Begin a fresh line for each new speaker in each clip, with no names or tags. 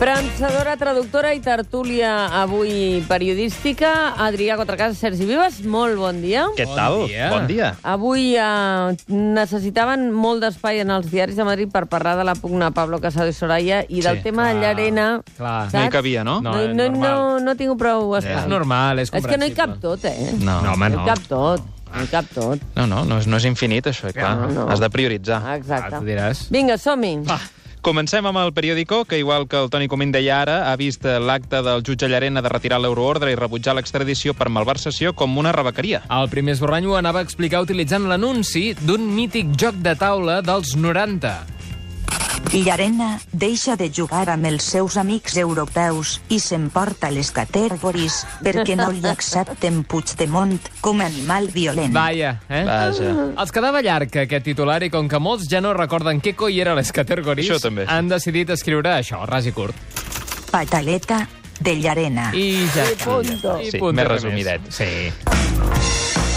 Fransadora, traductora i tertúlia avui periodística. Adrià Cotracasa, Sergi Vives, molt bon dia.
Què
Bon
tal?
dia.
Bon dia.
Avui eh, necessitaven molt d'espai en els diaris de Madrid per parlar de la pugna a Pablo Casado i Soraya i del
Sí,
tema
clar,
Llarena.
clar.
saps?
No hi cabia, no?
No,
No, és
no, no, no,
normal.
tinc prou espai.
És normal, és
És que no hi
comprensible.
cap tot, eh?
No.
No, home,
No hi cap tot, no hi cap tot.
No, no, no és, no Ah. és infinit, això, eh, clar.
No, no.
Has de prioritzar.
Ah,
Exacte.
tu diràs. Ah.
Vinga, som-hi.
Comencem amb el periòdico, que igual que el Toni Comín deia ara, ha vist eh, l'acte del jutge Llarena de retirar l'euroordre i rebutjar l'extradició per malversació com una rebequeria.
El primer esborrany ho anava a explicar utilitzant l'anunci d'un mític joc de taula dels 90.
Llarena deixa de jugar amb els seus amics europeus i s'emporta les categories perquè no li accepten Puigdemont com a animal violent.
Vaja, eh? Va.
Vaja.
Els quedava llarg aquest titular i com que molts ja no recorden què coi era les categories,
Això també.
han decidit escriure això, ras i curt.
Pataleta de Llarena.
I ja
I
està.
punto.
Sí,
punto,
més
res
resumidet.
Sí.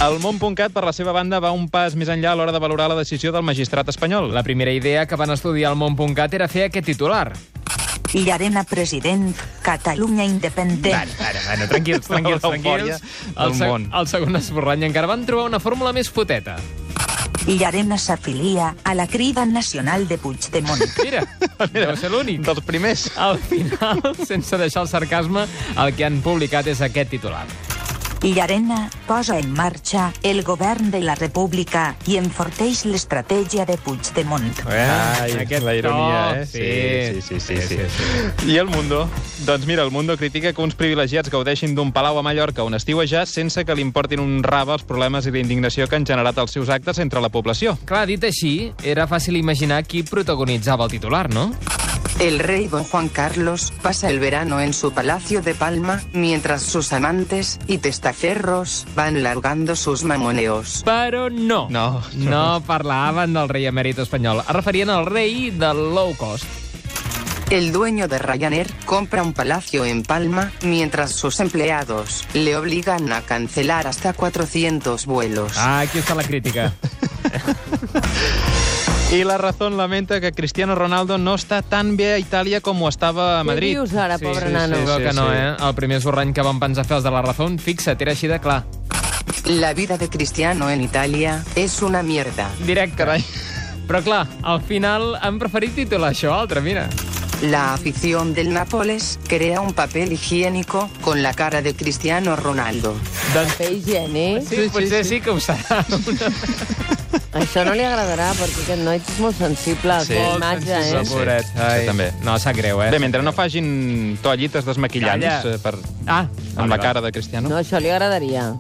El món.cat, per la seva banda, va un pas més enllà a l'hora de valorar la decisió del magistrat espanyol.
La primera idea que van estudiar al món.cat era fer aquest titular.
Llarena president, Catalunya independent.
Ara, bueno, tranquils, tranquils,
L'eufòria
tranquils.
del
El, seg
món.
el segon esborrany encara van trobar una fórmula més foteta.
Llarena s'afilia a la crida nacional de Puigdemont.
Mira, Mira deu ser l'únic.
Dels primers.
Al final, sense deixar el sarcasme, el que han publicat és aquest titular.
Llarena posa en marxa el govern de la República i enforteix l'estratègia de Puigdemont.
Ai,
Eh? aquest
la
to,
ironia, eh?
sí.
Sí, sí, sí, sí,
Sí, sí,
sí. I el Mundo? Doncs mira, el Mundo critica que uns privilegiats gaudeixin d'un palau a Mallorca on estiuejar sense que li importin un rave els problemes i la indignació que han generat els seus actes entre la població.
Clar, dit així, era fàcil imaginar qui protagonitzava el titular, no?
El rey Don Juan Carlos pasa el verano en su palacio de Palma, mientras sus amantes y testaferros van largando sus mamoneos.
Però no.
No.
No parlaven del rei emèrit espanyol. Es referien al rei del low cost.
El dueño de Ryanair compra un palacio en Palma, mientras sus empleados le obligan a cancelar hasta 400 vuelos.
Ah, aquí està la crítica.
I la Razón lamenta que Cristiano Ronaldo no està tan bé a Itàlia com ho estava a Madrid.
Què dius ara,
Sí,
pobre
sí,
nano?
Sí, sí,
Sí,
que no,
sí.
eh? El primer esborrany que van pensar fer els de la Razón, fixa't, era així de clar.
La vida de Cristiano en Italia es una mierda.
Directe.
Carai.
Però clar, al final han preferit titular això altre, mira.
La afición del Nápoles crea un papel higiénico con la cara de Cristiano Ronaldo.
Doncs
Fer higiene.
sí, sí, potser sí, sí que ho serà.
Això no li agradarà, perquè aquest noi és molt sensible a sí.
Sí.
la
Molt
imatge,
sensible,
eh?
sí. pobret. Ai.
No, sap greu, eh?
Bé, mentre no facin toallites desmaquillants
Calla.
eh, per,
Ah,
amb la cara de Cristiano.
No, això li agradaria.